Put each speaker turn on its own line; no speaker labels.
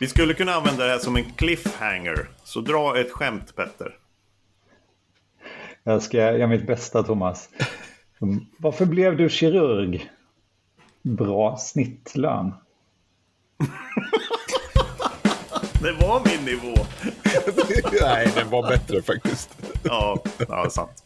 Vi skulle kunna använda det här som en cliffhanger. Så dra ett skämt Petter.
Jag ska göra mitt bästa Thomas. Varför blev du kirurg? Bra snittlön.
Det var min nivå.
Nej, den var bättre faktiskt.
Ja, ja sant.